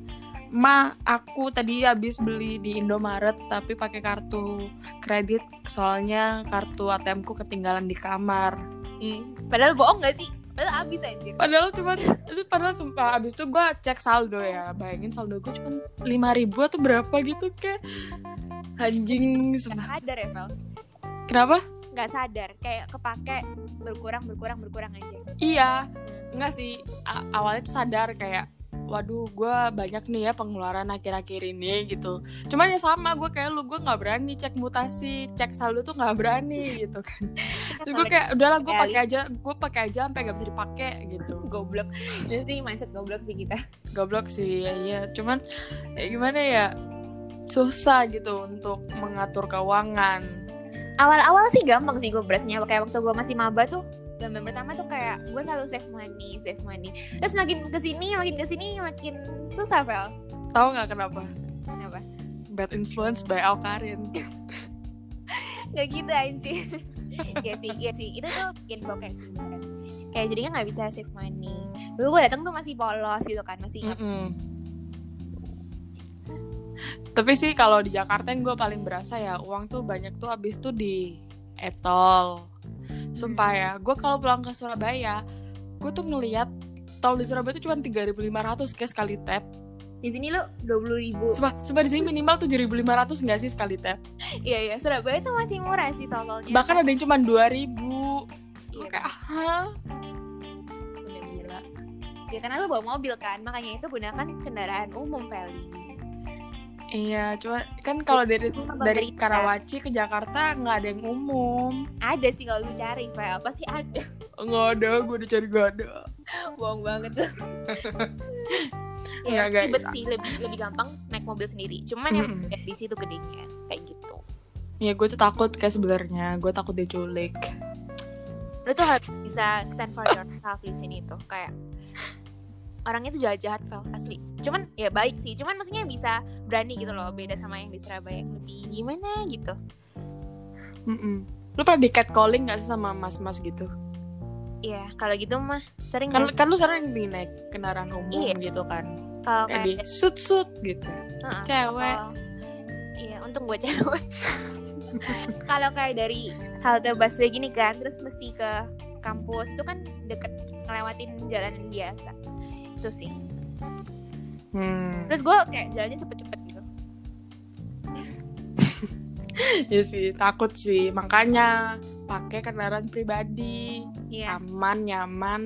[SPEAKER 1] Ma, aku tadi habis beli di Indomaret tapi pakai kartu kredit soalnya kartu ATM ku ketinggalan di kamar.
[SPEAKER 2] Hmm. padahal bohong gak sih padahal abis anjir
[SPEAKER 1] Padahal cuma tapi padahal sumpah abis itu gue cek saldo ya. Bayangin saldo gue cuma 5000 atau berapa gitu kayak anjing
[SPEAKER 2] nggak
[SPEAKER 1] sumpah.
[SPEAKER 2] sadar ya Vel
[SPEAKER 1] Kenapa?
[SPEAKER 2] nggak sadar kayak kepake berkurang berkurang berkurang aja
[SPEAKER 1] Iya, enggak sih. A- awalnya tuh sadar kayak waduh gue banyak nih ya pengeluaran akhir-akhir ini gitu cuman ya sama gue kayak lu gue nggak berani cek mutasi cek saldo tuh nggak berani gitu kan Terus gue kayak udahlah gue
[SPEAKER 2] Kali.
[SPEAKER 1] pakai aja, gue pakai aja sampai gak bisa dipakai gitu.
[SPEAKER 2] goblok nanti mindset goblok sih kita
[SPEAKER 1] Goblok sih, ya, iya. Cuman ya gimana ya susah gitu untuk mengatur keuangan.
[SPEAKER 2] awal-awal sih gampang sih gue berasnya kayak waktu gue masih maba tuh bulan pertama tuh kayak gue selalu save money save money terus makin kesini makin kesini makin susah Vel
[SPEAKER 1] Tahu nggak kenapa?
[SPEAKER 2] kenapa
[SPEAKER 1] Bad influence by Al Karin.
[SPEAKER 2] nggak gitu anjir (laughs) Iya sih, iya sih Itu tuh bikin bokeh sih beneran. Kayak jadinya nggak bisa save money Dulu gue datang tuh masih polos gitu kan Masih ingat
[SPEAKER 1] Mm-mm. Tapi sih kalau di Jakarta yang gue paling berasa ya uang tuh banyak tuh habis tuh di etol. Sumpah ya, gue kalau pulang ke Surabaya, gue tuh ngeliat tol di Surabaya tuh cuma 3.500 kayak sekali tap.
[SPEAKER 2] Di sini lu 20 ribu
[SPEAKER 1] Sumpah, sumpah di sini minimal 7.500 nggak sih sekali tap?
[SPEAKER 2] Iya iya Surabaya tuh masih murah sih Iya tol-tolnya
[SPEAKER 1] Bahkan ada yang cuma 2.000.
[SPEAKER 2] Iya,
[SPEAKER 1] Gue kayak, "Hah?"
[SPEAKER 2] bener-bener. Ya karena lu bawa mobil kan Makanya itu gunakan kendaraan umum Feli
[SPEAKER 1] Iya, cuma kan kalau dari dari Karawaci ke Jakarta nggak ada yang umum.
[SPEAKER 2] Ada sih kalau lu cari Fel Pasti ada (laughs)
[SPEAKER 1] Nggak ada, gue udah cari nggak ada.
[SPEAKER 2] Bohong banget (laughs) lu
[SPEAKER 1] Nggak,
[SPEAKER 2] Ya
[SPEAKER 1] nggak. Hmm.
[SPEAKER 2] ribet sih Lebih, lebih gampang naik mobil sendiri Cuman yang
[SPEAKER 1] Mm-mm.
[SPEAKER 2] di situ gedenya Kayak gitu
[SPEAKER 1] ya gue tuh takut kayak sebenarnya gue takut diculik
[SPEAKER 2] lu tuh harus bisa stand for yourself di sini tuh kayak orangnya tuh jahat-jahat Vel, asli cuman ya baik sih cuman maksudnya bisa berani gitu loh beda sama yang di Surabaya yang lebih gimana gitu
[SPEAKER 1] Mm-mm. lu pernah di catcalling gak sih sama mas-mas gitu
[SPEAKER 2] Iya, kalau gitu mah sering
[SPEAKER 1] kan
[SPEAKER 2] ya.
[SPEAKER 1] kan lu sering di naik kendaraan umum
[SPEAKER 2] Iya.
[SPEAKER 1] gitu kan
[SPEAKER 2] kalau
[SPEAKER 1] kayak
[SPEAKER 2] kayak
[SPEAKER 1] di sut sut gitu
[SPEAKER 2] Heeh,
[SPEAKER 1] cewek
[SPEAKER 2] kalau- Iya, untung gue cewek. Kalau kayak dari halte busway gini kan, terus mesti ke kampus itu kan deket ngelewatin jalanan biasa. Itu sih.
[SPEAKER 1] hmm.
[SPEAKER 2] Terus gue kayak jalannya cepet-cepet gitu.
[SPEAKER 1] ya sih takut sih makanya pakai kendaraan pribadi
[SPEAKER 2] Iya,
[SPEAKER 1] aman nyaman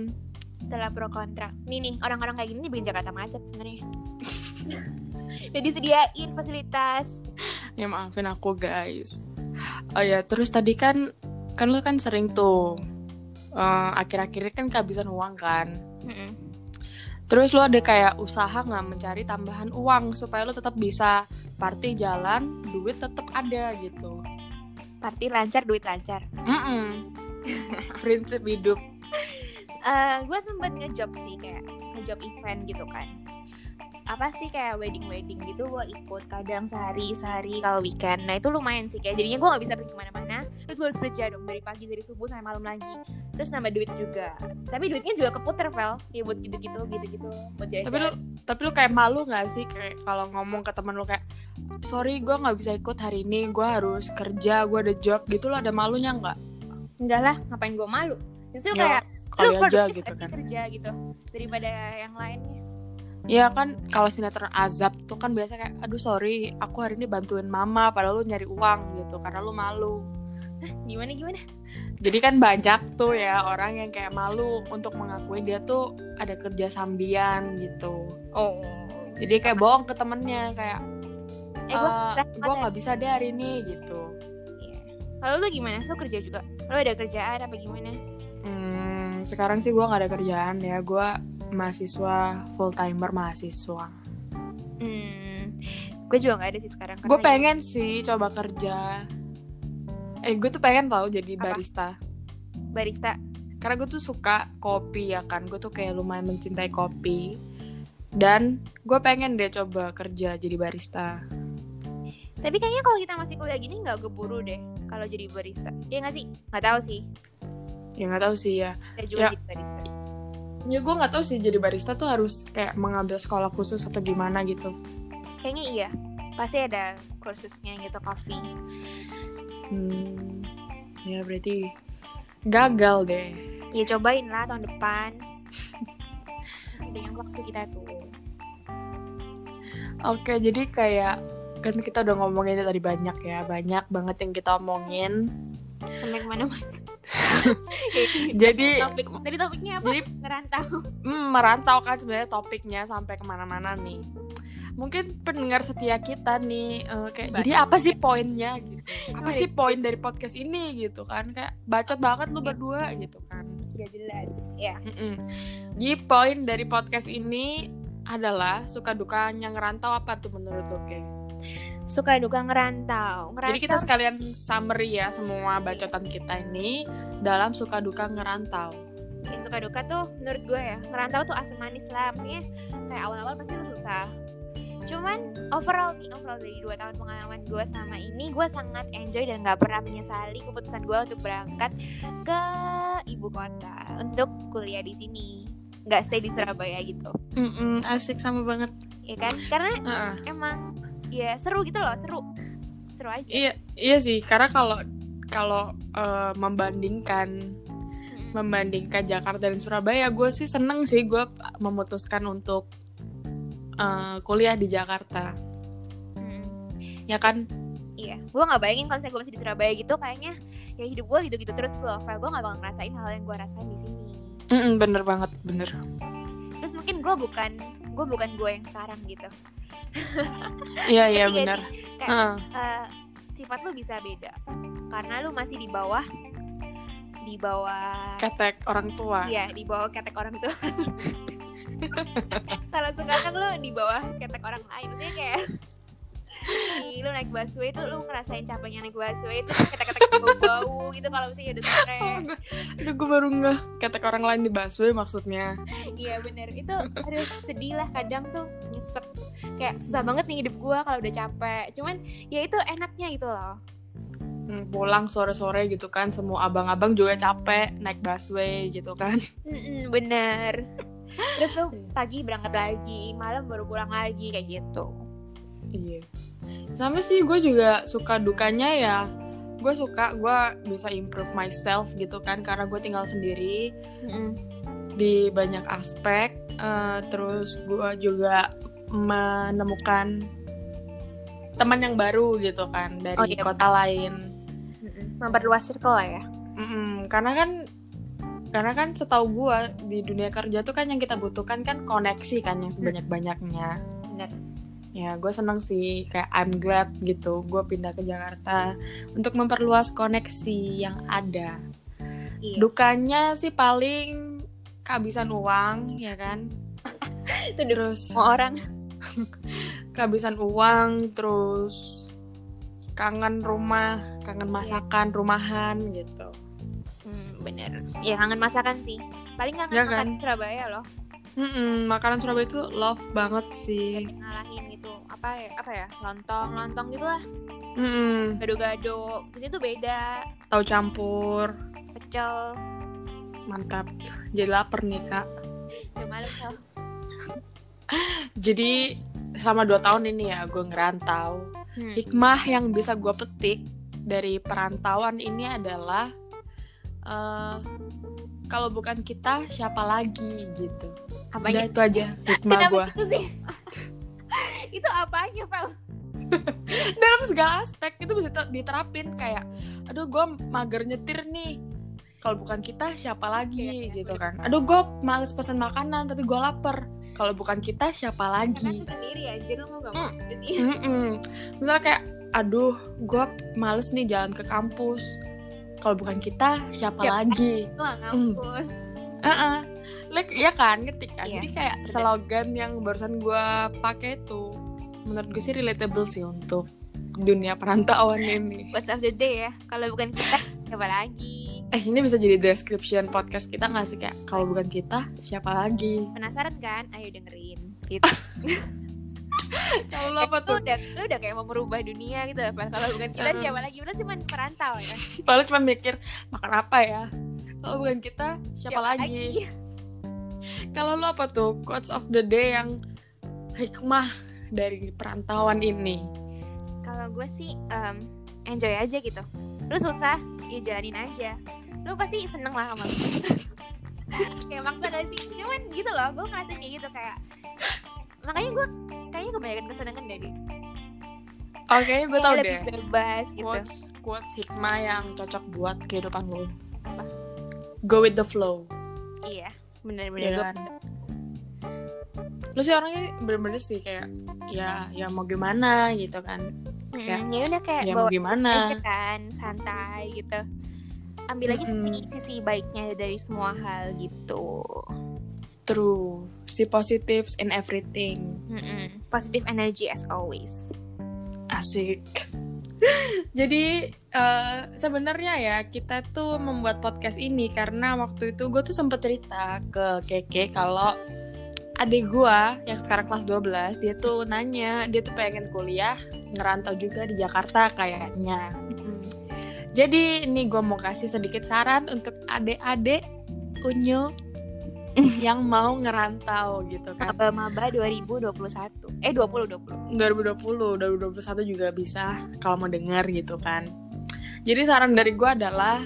[SPEAKER 2] setelah pro kontra. Nih nih, orang-orang kayak gini bikin Jakarta macet sebenarnya. (laughs) Udah disediain fasilitas.
[SPEAKER 1] ya maafin aku guys oh ya terus tadi kan kan lu kan sering tuh eh, akhir-akhirnya kan kehabisan uang kan
[SPEAKER 2] Mm-mm.
[SPEAKER 1] terus lu ada kayak usaha nggak mencari tambahan uang supaya lu tetap bisa party jalan duit tetap ada gitu
[SPEAKER 2] Party lancar, duit lancar.
[SPEAKER 1] Mm-mm. (laughs) prinsip hidup
[SPEAKER 2] gue Eh, sempet ngejob sih kayak ngejob event gitu kan apa sih kayak wedding wedding gitu gue ikut kadang sehari sehari kalau weekend nah itu lumayan sih kayak jadinya gue nggak bisa pergi kemana-mana terus gue harus kerja dong dari pagi dari subuh sampai malam lagi terus nambah duit juga tapi duitnya juga keputer vel ya buat gitu-gitu gitu-gitu buat jajan
[SPEAKER 1] tapi lu tapi lu kayak malu nggak sih kayak kalau ngomong ke temen lu kayak sorry gue nggak bisa ikut hari ini gue harus kerja gue ada job gitu lo ada malunya nggak
[SPEAKER 2] enggak lah ngapain gue malu justru
[SPEAKER 1] Ya,
[SPEAKER 2] kayak
[SPEAKER 1] kali
[SPEAKER 2] lu
[SPEAKER 1] aja
[SPEAKER 2] produktif
[SPEAKER 1] gitu
[SPEAKER 2] lagi
[SPEAKER 1] kan
[SPEAKER 2] kerja gitu daripada yang lainnya
[SPEAKER 1] Iya kan kalau sinetron azab tuh kan biasa kayak aduh sorry aku hari ini bantuin mama padahal lu nyari uang gitu karena lu malu.
[SPEAKER 2] gimana gimana
[SPEAKER 1] Jadi kan banyak tuh ya orang yang kayak malu untuk mengakui dia tuh ada kerja sambian gitu.
[SPEAKER 2] oh
[SPEAKER 1] Jadi kayak bohong ke temennya kayak
[SPEAKER 2] eh
[SPEAKER 1] eh,
[SPEAKER 2] gue
[SPEAKER 1] gue nggak bisa deh hari ini gitu.
[SPEAKER 2] Iya. Kalau lu gimana? Lu kerja juga? Lu ada kerjaan apa gimana?
[SPEAKER 1] Hmm, sekarang sih gua nggak ada kerjaan ya gue mahasiswa full timer mahasiswa.
[SPEAKER 2] Hmm, gue juga nggak ada sih sekarang.
[SPEAKER 1] Gue
[SPEAKER 2] karena
[SPEAKER 1] pengen sih coba kerja. Eh gue tuh pengen tau jadi
[SPEAKER 2] Apa?
[SPEAKER 1] barista.
[SPEAKER 2] barista.
[SPEAKER 1] karena gue tuh suka kopi ya kan gue tuh kayak lumayan mencintai kopi dan gue pengen deh coba kerja jadi barista
[SPEAKER 2] Tapi kayaknya kalau kita masih kuliah gini nggak keburu deh kalau jadi barista. Iya nggak sih? Nggak tahu sih.
[SPEAKER 1] ya nggak tahu sih ya
[SPEAKER 2] Ada juga
[SPEAKER 1] Ya.
[SPEAKER 2] jadi barista.
[SPEAKER 1] ya gue nggak tahu sih jadi barista tuh harus kayak mengambil sekolah khusus atau gimana gitu
[SPEAKER 2] Kayaknya iya. Pasti ada kursusnya gitu coffee.
[SPEAKER 1] hmm, ya berarti gagal deh
[SPEAKER 2] Ya cobain lah tahun depan. Masih banyak waktu kita tuh.
[SPEAKER 1] oke jadi kayak kan kita udah ngomongin tadi banyak ya banyak banget yang kita omongin
[SPEAKER 2] Sampai kemana-mana.
[SPEAKER 1] (laughs) jadi
[SPEAKER 2] Topik. Tadi topiknya apa?
[SPEAKER 1] jadi
[SPEAKER 2] Ngerantau.
[SPEAKER 1] hmm, merantau kan sebenarnya topiknya sampai kemana-mana nih. Mungkin pendengar setia kita nih eh, kayak
[SPEAKER 2] Baik.
[SPEAKER 1] jadi apa sih poinnya gitu? Apa
[SPEAKER 2] Baik.
[SPEAKER 1] sih poin dari podcast ini gitu kan? Kayak bacot banget lu berdua gitu kan.
[SPEAKER 2] Udah jelas. Ya.
[SPEAKER 1] Mm-mm. Jadi poin dari podcast ini adalah suka dukanya ngerantau apa tuh menurut lo? Oke.
[SPEAKER 2] Suka duka ngerantau. Ngerantau.
[SPEAKER 1] Jadi kita sekalian summary ya semua bacotan kita ini dalam suka duka ngerantau.
[SPEAKER 2] ya suka duka tuh menurut gue ya merantau tuh asam manis lah maksudnya kayak awal-awal pasti lu susah cuman overall nih overall dari dua tahun pengalaman gue sama ini gue sangat enjoy dan nggak pernah menyesali keputusan gue untuk berangkat ke ibu kota untuk kuliah di sini nggak stay di Surabaya gitu
[SPEAKER 1] Mm-mm, asik sama banget.
[SPEAKER 2] ya kan karena
[SPEAKER 1] Heeh.
[SPEAKER 2] emang ya seru gitu loh seru seru aja
[SPEAKER 1] Iya, iya sih. Karena kalau kalau eh, membandingkan
[SPEAKER 2] Mm-mm.
[SPEAKER 1] membandingkan Jakarta dan Surabaya, gue sih seneng sih gue memutuskan untuk eh, kuliah di Jakarta.
[SPEAKER 2] Mm-mm.
[SPEAKER 1] Ya kan?
[SPEAKER 2] Iya, gue gak bayangin kalau misalnya gue masih di Surabaya gitu, kayaknya ya hidup gue gitu-gitu terus gue file gue gak bakal ngerasain hal yang gue rasain di sini.
[SPEAKER 1] Mm-mm, bener banget, bener.
[SPEAKER 2] Terus mungkin gue bukan gue bukan gue yang sekarang gitu.
[SPEAKER 1] Iya iya
[SPEAKER 2] Ngerti gak
[SPEAKER 1] bener.
[SPEAKER 2] sih?
[SPEAKER 1] Heeh.
[SPEAKER 2] Eh, sifat lu bisa beda karena lu masih di bawah di bawah
[SPEAKER 1] Ketek orang tua.
[SPEAKER 2] iya di bawah ketek orang (laughs) tua. kalau sekarang lu di bawah ketek orang lain, maksudnya kayak Ih, lu naik busway itu lu ngerasain capeknya naik busway itu ketek-ketek bau-bau gitu kalau misalnya udah sore.
[SPEAKER 1] Aduh, gue baru nggak kata orang lain di busway maksudnya.
[SPEAKER 2] Iya bener itu aduh sedih lah kadang tuh nyesek kayak susah banget nih hidup gua kalau udah capek. Cuman ya itu enaknya gitu loh.
[SPEAKER 1] Hmm, Pulang sore-sore gitu kan, semua abang-abang juga capek naik busway gitu kan.
[SPEAKER 2] Mm-mm, bener. Iya. Terus lu pagi berangkat lagi, malam baru pulang lagi kayak gitu.
[SPEAKER 1] Iya. Sama sih gue juga suka dukanya ya. Gue suka gue bisa improve myself gitu kan karena gue tinggal sendiri
[SPEAKER 2] Mm-mm.
[SPEAKER 1] di banyak aspek. Eh, terus gue juga menemukan teman yang baru gitu kan dari
[SPEAKER 2] Oh, iya.
[SPEAKER 1] kota lain.
[SPEAKER 2] Mm-mm. Memperluas circle lah ya.
[SPEAKER 1] Mm-mm, karena kan karena kan setahu gua di dunia kerja tuh kan yang kita butuhkan kan koneksi kan yang sebanyak-banyaknya.
[SPEAKER 2] Bener.
[SPEAKER 1] Ya, gue seneng sih kayak I'm glad gitu. Gue pindah ke Jakarta untuk memperluas koneksi yang ada.
[SPEAKER 2] Iya.
[SPEAKER 1] Dukanya sih paling kehabisan uang, ya kan? (laughs) terus
[SPEAKER 2] Semua orang
[SPEAKER 1] kehabisan uang, terus kangen rumah, kangen masakan rumahan gitu.
[SPEAKER 2] Hmm, bener. Ya kangen masakan sih. kan? Paling kangen
[SPEAKER 1] Ya
[SPEAKER 2] makan Surabaya loh.
[SPEAKER 1] Mm-mm, makanan Surabaya itu love banget sih.
[SPEAKER 2] Ngalahin gitu. Apa ya? Apa ya? Lontong, lontong gitu lah.
[SPEAKER 1] Mm-mm,
[SPEAKER 2] Gado-gado. Di situ beda.
[SPEAKER 1] tahu campur,
[SPEAKER 2] Pecel.
[SPEAKER 1] mantap. Jadi lapar nih kak.
[SPEAKER 2] Udah malam so.
[SPEAKER 1] Jadi selama dua tahun ini ya gue ngerantau.
[SPEAKER 2] Hmm.
[SPEAKER 1] Hikmah yang bisa gue petik dari perantauan ini adalah eh, kalau bukan kita siapa lagi gitu. Udah
[SPEAKER 2] Apanya?
[SPEAKER 1] itu aja hikmah
[SPEAKER 2] Kenapa
[SPEAKER 1] gue.
[SPEAKER 2] gitu sih? (laughs) itu apanya, Fel?
[SPEAKER 1] Dalam segala aspek itu bisa te- diterapin kayak, aduh gue mager nyetir nih. Kalau bukan kita siapa lagi
[SPEAKER 2] Oke,
[SPEAKER 1] gitu
[SPEAKER 2] udah.
[SPEAKER 1] kan. Aduh gue males pesan makanan tapi gue lapar. Kalau bukan kita siapa
[SPEAKER 2] Kan
[SPEAKER 1] lagi?
[SPEAKER 2] lu sendiri anjir lu mau gak
[SPEAKER 1] Hmm.
[SPEAKER 2] gitu sih.
[SPEAKER 1] Mm-mm. Misalnya kayak, aduh, gue males nih jalan ke kampus. Kalau bukan kita, siapa
[SPEAKER 2] Siapa?
[SPEAKER 1] lagi?
[SPEAKER 2] Lu gak ngampus.
[SPEAKER 1] Heeh. Like, ya kan, ngerti kan?
[SPEAKER 2] Iya,
[SPEAKER 1] Jadi kayak
[SPEAKER 2] bener.
[SPEAKER 1] slogan yang barusan gue pakai tuh, menurut gue sih relatable sih untuk dunia perantauan ini.
[SPEAKER 2] What's up the day ya? Kalau bukan kita, siapa lagi?
[SPEAKER 1] Eh, ini bisa jadi description podcast kita nggak sih kayak, kalau bukan kita, siapa lagi?
[SPEAKER 2] Penasaran kan? Ayo dengerin. (laughs) Gitu. Eh,
[SPEAKER 1] Kalau lo apa
[SPEAKER 2] Lu
[SPEAKER 1] tuh?
[SPEAKER 2] udah, lu udah kayak mau merubah dunia gitu. Fel. Kalau bukan kita,
[SPEAKER 1] Uh-uh.
[SPEAKER 2] siapa lagi? Lu cuma perantau ya.
[SPEAKER 1] (laughs) Padahal cuma mikir, makan apa ya? Kalau bukan kita, siapa, lagi? Kalau lo apa tuh quotes of the day yang hikmah dari perantauan ini?
[SPEAKER 2] Kalau gue sih em, enjoy aja gitu. Lu susah, ya jalanin aja. Lu pasti seneng lah sama lu. (laughs) kayak maksa gak sih? Cuman gitu loh, gue ngerasain kayak gitu kayak. Makanya gue kayaknya kebanyakan kesenangan dari.
[SPEAKER 1] Oke, gue tau
[SPEAKER 2] lebih
[SPEAKER 1] deh.
[SPEAKER 2] bebas gitu.
[SPEAKER 1] Quotes, quotes hikmah yang cocok buat kehidupan lo.
[SPEAKER 2] Apa?
[SPEAKER 1] Go with the flow.
[SPEAKER 2] Iya, bener-bener.
[SPEAKER 1] Ya
[SPEAKER 2] Gua-
[SPEAKER 1] kan? Lo sih orangnya bener-bener sih kayak ya ya mau gimana gitu kan. Kayak,
[SPEAKER 2] Mm, ya udah kayak
[SPEAKER 1] Ya
[SPEAKER 2] bawa
[SPEAKER 1] mau
[SPEAKER 2] aja
[SPEAKER 1] gimana.
[SPEAKER 2] kan, santai gitu. Ambil aja sisi,
[SPEAKER 1] Mm-mm.
[SPEAKER 2] sisi baiknya dari semua hal gitu.
[SPEAKER 1] True. Si positives in everything.
[SPEAKER 2] Mm-mm. Positive energy as always.
[SPEAKER 1] Asik. (laughs) Jadi eh, sebenarnya ya kita tuh membuat podcast ini karena waktu itu gue tuh sempet cerita ke Keke kalau adik gue yang sekarang kelas 12 dia tuh nanya dia tuh pengen kuliah ngerantau juga di Jakarta kayaknya.
[SPEAKER 2] Mm.
[SPEAKER 1] Jadi ini gue mau kasih sedikit saran untuk adik-adik unyu yang mau ngerantau gitu kan.
[SPEAKER 2] Maba Maba 2021. Eh 20 20.
[SPEAKER 1] 2020, 2021 juga bisa kalau mau denger gitu kan. Jadi saran dari gue adalah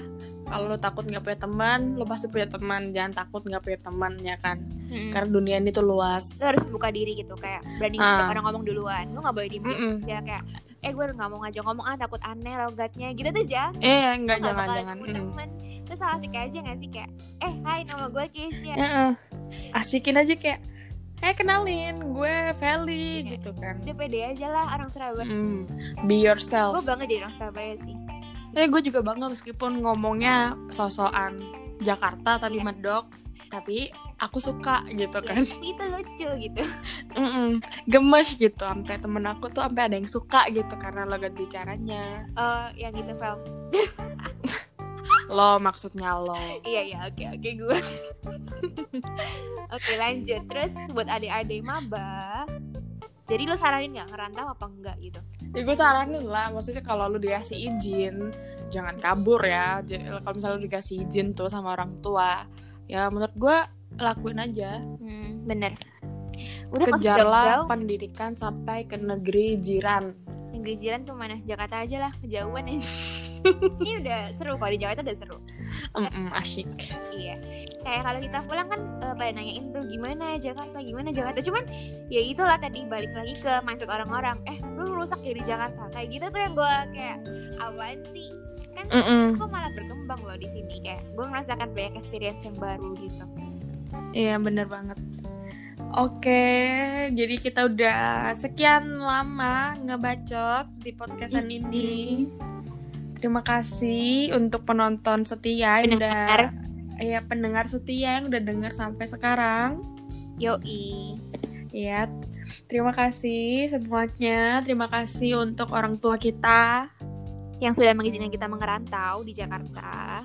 [SPEAKER 1] kalau lo takut nggak punya teman, lo pasti punya teman. Jangan takut nggak punya teman ya kan.
[SPEAKER 2] Mm.
[SPEAKER 1] Karena dunia ini tuh luas.
[SPEAKER 2] Lu harus buka diri gitu kayak berani
[SPEAKER 1] Ah.
[SPEAKER 2] ngajak orang ngomong duluan. Lu nggak boleh diem
[SPEAKER 1] Mm-mm.
[SPEAKER 2] ya kayak eh gue nggak mau ngajak ngomong ah takut aneh logatnya gitu tuh jangan
[SPEAKER 1] Eh nggak
[SPEAKER 2] Lu nggak
[SPEAKER 1] jangan
[SPEAKER 2] bakal
[SPEAKER 1] jangan.
[SPEAKER 2] ketemu
[SPEAKER 1] Mm.
[SPEAKER 2] temen terus salah asik aja nggak sih kayak eh hai nama gue Keisha
[SPEAKER 1] Eh, eh. Asikin aja kayak, eh kenalin gue Feli
[SPEAKER 2] Iya.
[SPEAKER 1] gitu kan.
[SPEAKER 2] udah pede aja lah orang Surabaya
[SPEAKER 1] Mm. Be
[SPEAKER 2] gue
[SPEAKER 1] yourself.
[SPEAKER 2] bangga jadi orang Surabaya sih
[SPEAKER 1] Eh gue juga bangga meskipun ngomongnya sosokan Jakarta tapi
[SPEAKER 2] Iya.
[SPEAKER 1] medok, tapi aku suka gitu kan
[SPEAKER 2] itu lucu gitu (laughs)
[SPEAKER 1] Mm-mm. gemes gitu sampai temen aku tuh sampai ada yang suka gitu karena logat bicaranya
[SPEAKER 2] Eh, yang gitu Vel
[SPEAKER 1] lo maksudnya lo
[SPEAKER 2] iya iya oke oke gue oke lanjut terus buat adik-adik maba jadi lo saranin nggak ngerantau apa enggak gitu
[SPEAKER 1] ya gue saranin lah maksudnya kalau lu dikasih izin jangan kabur ya J- kalau misalnya lu dikasih izin tuh sama orang tua ya menurut gue lakuin aja
[SPEAKER 2] hmm, bener udah pas
[SPEAKER 1] kejarlah
[SPEAKER 2] jauh-jauh,
[SPEAKER 1] pendidikan sampai ke negeri jiran
[SPEAKER 2] negeri jiran tuh mana Jakarta aja lah kejauhan (laughs) ya ini udah seru kalau di Jakarta udah seru
[SPEAKER 1] Mm-mm, asyik
[SPEAKER 2] Iya. Kayak kalau kita pulang kan eh, pada nanyain tuh gimana Jakarta, gimana Jakarta. Cuman ya itulah tadi balik lagi ke mindset orang-orang. Eh, lu rusak ya di Jakarta. Kayak gitu tuh yang gue kayak awan sih. Kan
[SPEAKER 1] Mm-mm.
[SPEAKER 2] gue malah berkembang loh di sini kayak gue merasakan banyak experience yang baru gitu.
[SPEAKER 1] Iya bener banget Oke, jadi kita udah sekian lama ngebacot di podcastan ini. Terima kasih untuk penonton setia yang
[SPEAKER 2] Pendengar.
[SPEAKER 1] udah ya pendengar setia yang udah denger sampai sekarang.
[SPEAKER 2] Yoi.
[SPEAKER 1] Ya, terima kasih semuanya. Terima kasih untuk orang tua kita.
[SPEAKER 2] Yang sudah mengizinkan kita mengerantau di Jakarta.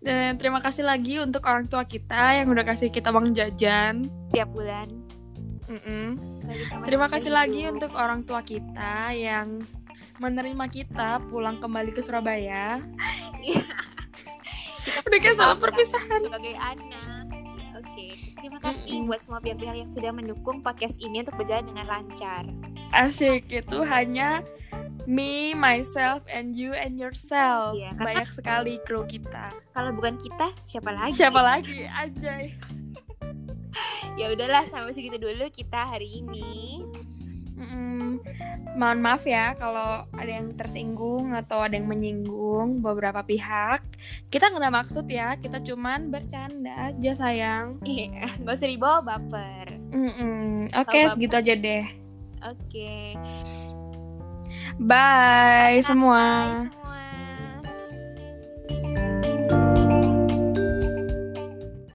[SPEAKER 1] Dan terima kasih lagi untuk orang tua kita yang udah kasih kita uang jajan.
[SPEAKER 2] Tiap bulan.
[SPEAKER 1] Mm-mm.
[SPEAKER 2] Kalau kita masih
[SPEAKER 1] Terima kasih
[SPEAKER 2] hidup.
[SPEAKER 1] lagi untuk orang tua kita yang menerima kita pulang kembali ke Surabaya.
[SPEAKER 2] Iya.
[SPEAKER 1] Udah kayak salah perpisahan.
[SPEAKER 2] sebagai anak. Oke, terima kasih
[SPEAKER 1] Mm-mm.
[SPEAKER 2] buat semua pihak-pihak yang sudah mendukung podcast ini untuk berjalan dengan lancar.
[SPEAKER 1] Asyik itu hanya me, myself, and you and yourself.
[SPEAKER 2] Iya, karena-
[SPEAKER 1] Banyak sekali kru kita.
[SPEAKER 2] Kalau bukan kita, siapa lagi?
[SPEAKER 1] Siapa lagi? Ajay.
[SPEAKER 2] Ya udahlah, sampai segitu dulu kita hari ini.
[SPEAKER 1] Mm-mm. Mohon maaf ya kalau ada yang tersinggung atau ada yang menyinggung beberapa pihak. Kita nggak ada maksud ya, kita cuman bercanda aja sayang.
[SPEAKER 2] Iya, (laughs) Nggak usah dibawa baper.
[SPEAKER 1] Mm-mm. Oke,
[SPEAKER 2] Kalau
[SPEAKER 1] segitu aja deh.
[SPEAKER 2] Oke.
[SPEAKER 1] Bye
[SPEAKER 2] Bye
[SPEAKER 1] semua.
[SPEAKER 2] semua.